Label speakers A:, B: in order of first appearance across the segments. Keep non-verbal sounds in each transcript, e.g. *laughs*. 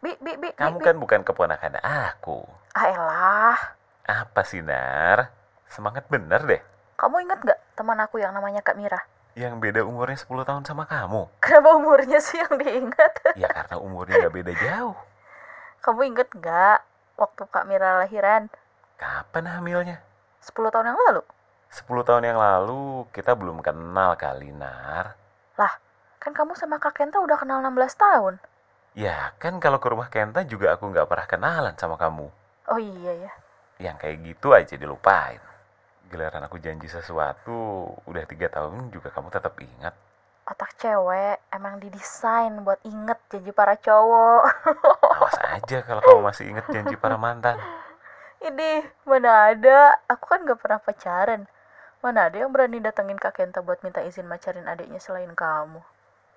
A: Kamu
B: Pi.
A: kan bukan keponakan aku.
B: Ah elah,
A: Apa sih, Nar? Semangat bener deh.
B: kamu inget gak teman aku yang namanya Kak Mira? *laughs*
A: Yang beda umurnya 10 tahun sama kamu.
B: Kenapa umurnya sih yang diingat? *laughs*
A: Ya karena umurnya nggak beda jauh.
B: Kamu inget gak waktu Kak Mira lahiran?
A: Kapan hamilnya?
B: 10 tahun yang lalu?
A: 10 tahun yang lalu kita belum kenal kali, Nar.
B: Kan kamu sama Kak Kenta udah kenal 16 tahun.
A: Ya kan kalau ke rumah Kenta juga aku nggak pernah kenalan sama kamu.
B: Oh iya ya.
A: Yang kayak gitu aja dilupain. Giliran aku janji sesuatu, udah tiga tahun juga kamu tetap ingat.
B: Otak cewek emang didesain buat inget janji para cowok. *laughs*
A: Awas aja kalau kamu masih ingat janji para mantan.
B: Ini mana ada? Aku kan gak pernah pacaran. Mana ada yang berani datengin Kak Kenta buat minta izin macarin adiknya selain kamu?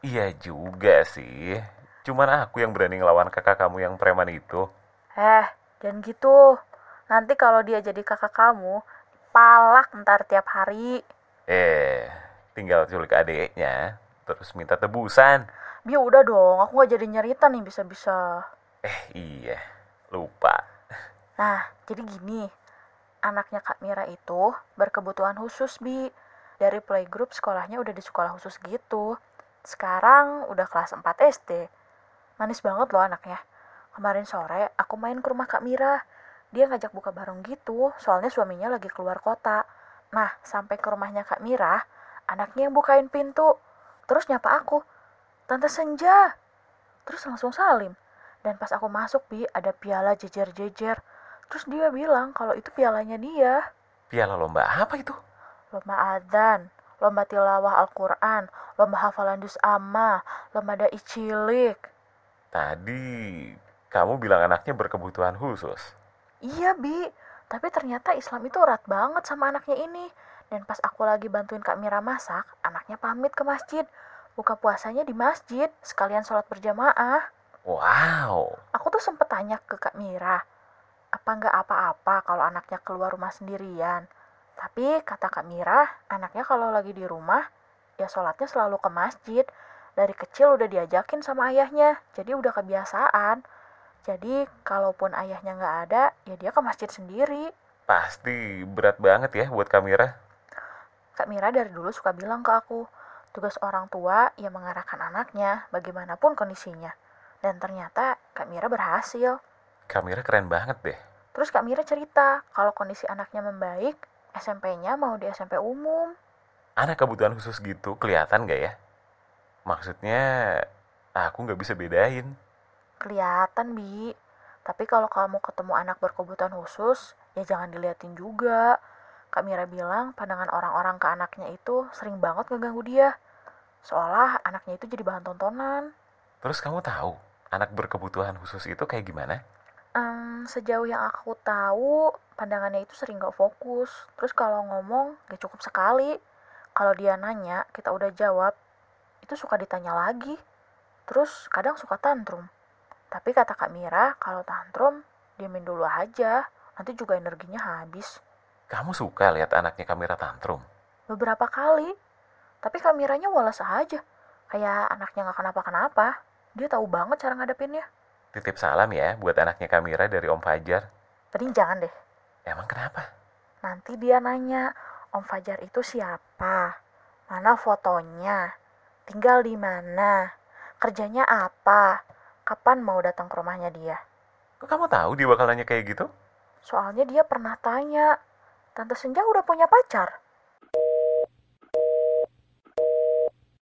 A: Iya juga sih. Cuman aku yang berani ngelawan kakak kamu yang preman itu.
B: Eh, jangan gitu. Nanti kalau dia jadi kakak kamu, palak ntar tiap hari.
A: Eh, tinggal culik adiknya, terus minta tebusan.
B: Bi udah dong, aku nggak jadi nyerita nih bisa-bisa.
A: Eh, iya. Lupa.
B: Nah, jadi gini, anaknya Kak Mira itu berkebutuhan khusus, Bi. Dari playgroup sekolahnya udah di sekolah khusus gitu. Sekarang udah kelas 4 SD. Manis banget loh anaknya. Kemarin sore aku main ke rumah Kak Mira. Dia ngajak buka bareng gitu, soalnya suaminya lagi keluar kota. Nah, sampai ke rumahnya Kak Mira, anaknya yang bukain pintu. Terus nyapa aku, Tante Senja. Terus langsung salim. Dan pas aku masuk, Bi, ada piala jejer-jejer. Terus dia bilang kalau itu pialanya dia.
A: Piala lomba apa itu?
B: Lomba adzan, lomba tilawah Al-Quran, lomba hafalan dus amma, lomba da'i cilik.
A: Tadi kamu bilang anaknya berkebutuhan khusus.
B: Iya, Bi. Tapi ternyata Islam itu erat banget sama anaknya ini. Dan pas aku lagi bantuin Kak Mira masak, anaknya pamit ke masjid. Buka puasanya di masjid, sekalian sholat berjamaah.
A: Wow.
B: Aku tuh sempet tanya ke Kak Mira, apa nggak apa-apa kalau anaknya keluar rumah sendirian? Tapi kata Kak Mira, anaknya kalau lagi di rumah, ya sholatnya selalu ke masjid. Dari kecil udah diajakin sama ayahnya, jadi udah kebiasaan. Jadi kalaupun ayahnya nggak ada, ya dia ke masjid sendiri.
A: Pasti berat banget ya buat kamera.
B: Kak Mira dari dulu suka bilang ke aku, tugas orang tua ya mengarahkan anaknya bagaimanapun kondisinya. Dan ternyata Kak Mira berhasil.
A: Kamera keren banget deh.
B: Terus Kak Mira cerita kalau kondisi anaknya membaik, SMP-nya mau di SMP umum.
A: Anak kebutuhan khusus gitu kelihatan gak ya? Maksudnya aku nggak bisa bedain.
B: Kelihatan, Bi. Tapi kalau kamu ketemu anak berkebutuhan khusus, ya jangan diliatin juga. Kak Mira bilang pandangan orang-orang ke anaknya itu sering banget ngeganggu dia. Seolah anaknya itu jadi bahan tontonan.
A: Terus kamu tahu anak berkebutuhan khusus itu kayak gimana?
B: Em, Mmm, sejauh yang aku tahu, pandangannya itu sering gak fokus. Terus kalau ngomong, gak cukup sekali. Kalau dia nanya, kita udah jawab, itu suka ditanya lagi. Terus kadang suka tantrum. Tapi kata Kak Mira, kalau tantrum, diamin dulu aja. Nanti juga energinya habis.
A: Kamu suka lihat anaknya kamera tantrum?
B: Beberapa kali. Tapi Kak Miranya walas aja. Kayak anaknya gak kenapa-kenapa. Dia tahu banget cara ngadepinnya.
A: Titip salam ya buat anaknya kamera dari Om Fajar.
B: Mending jangan deh.
A: Emang kenapa?
B: Nanti dia nanya, Om Fajar itu siapa? Mana fotonya? Tinggal di mana? Kerjanya apa? Kapan mau datang ke rumahnya dia?
A: Kok kamu tahu dia bakal nanya kayak gitu?
B: Soalnya dia pernah tanya, Tante Senja udah punya pacar?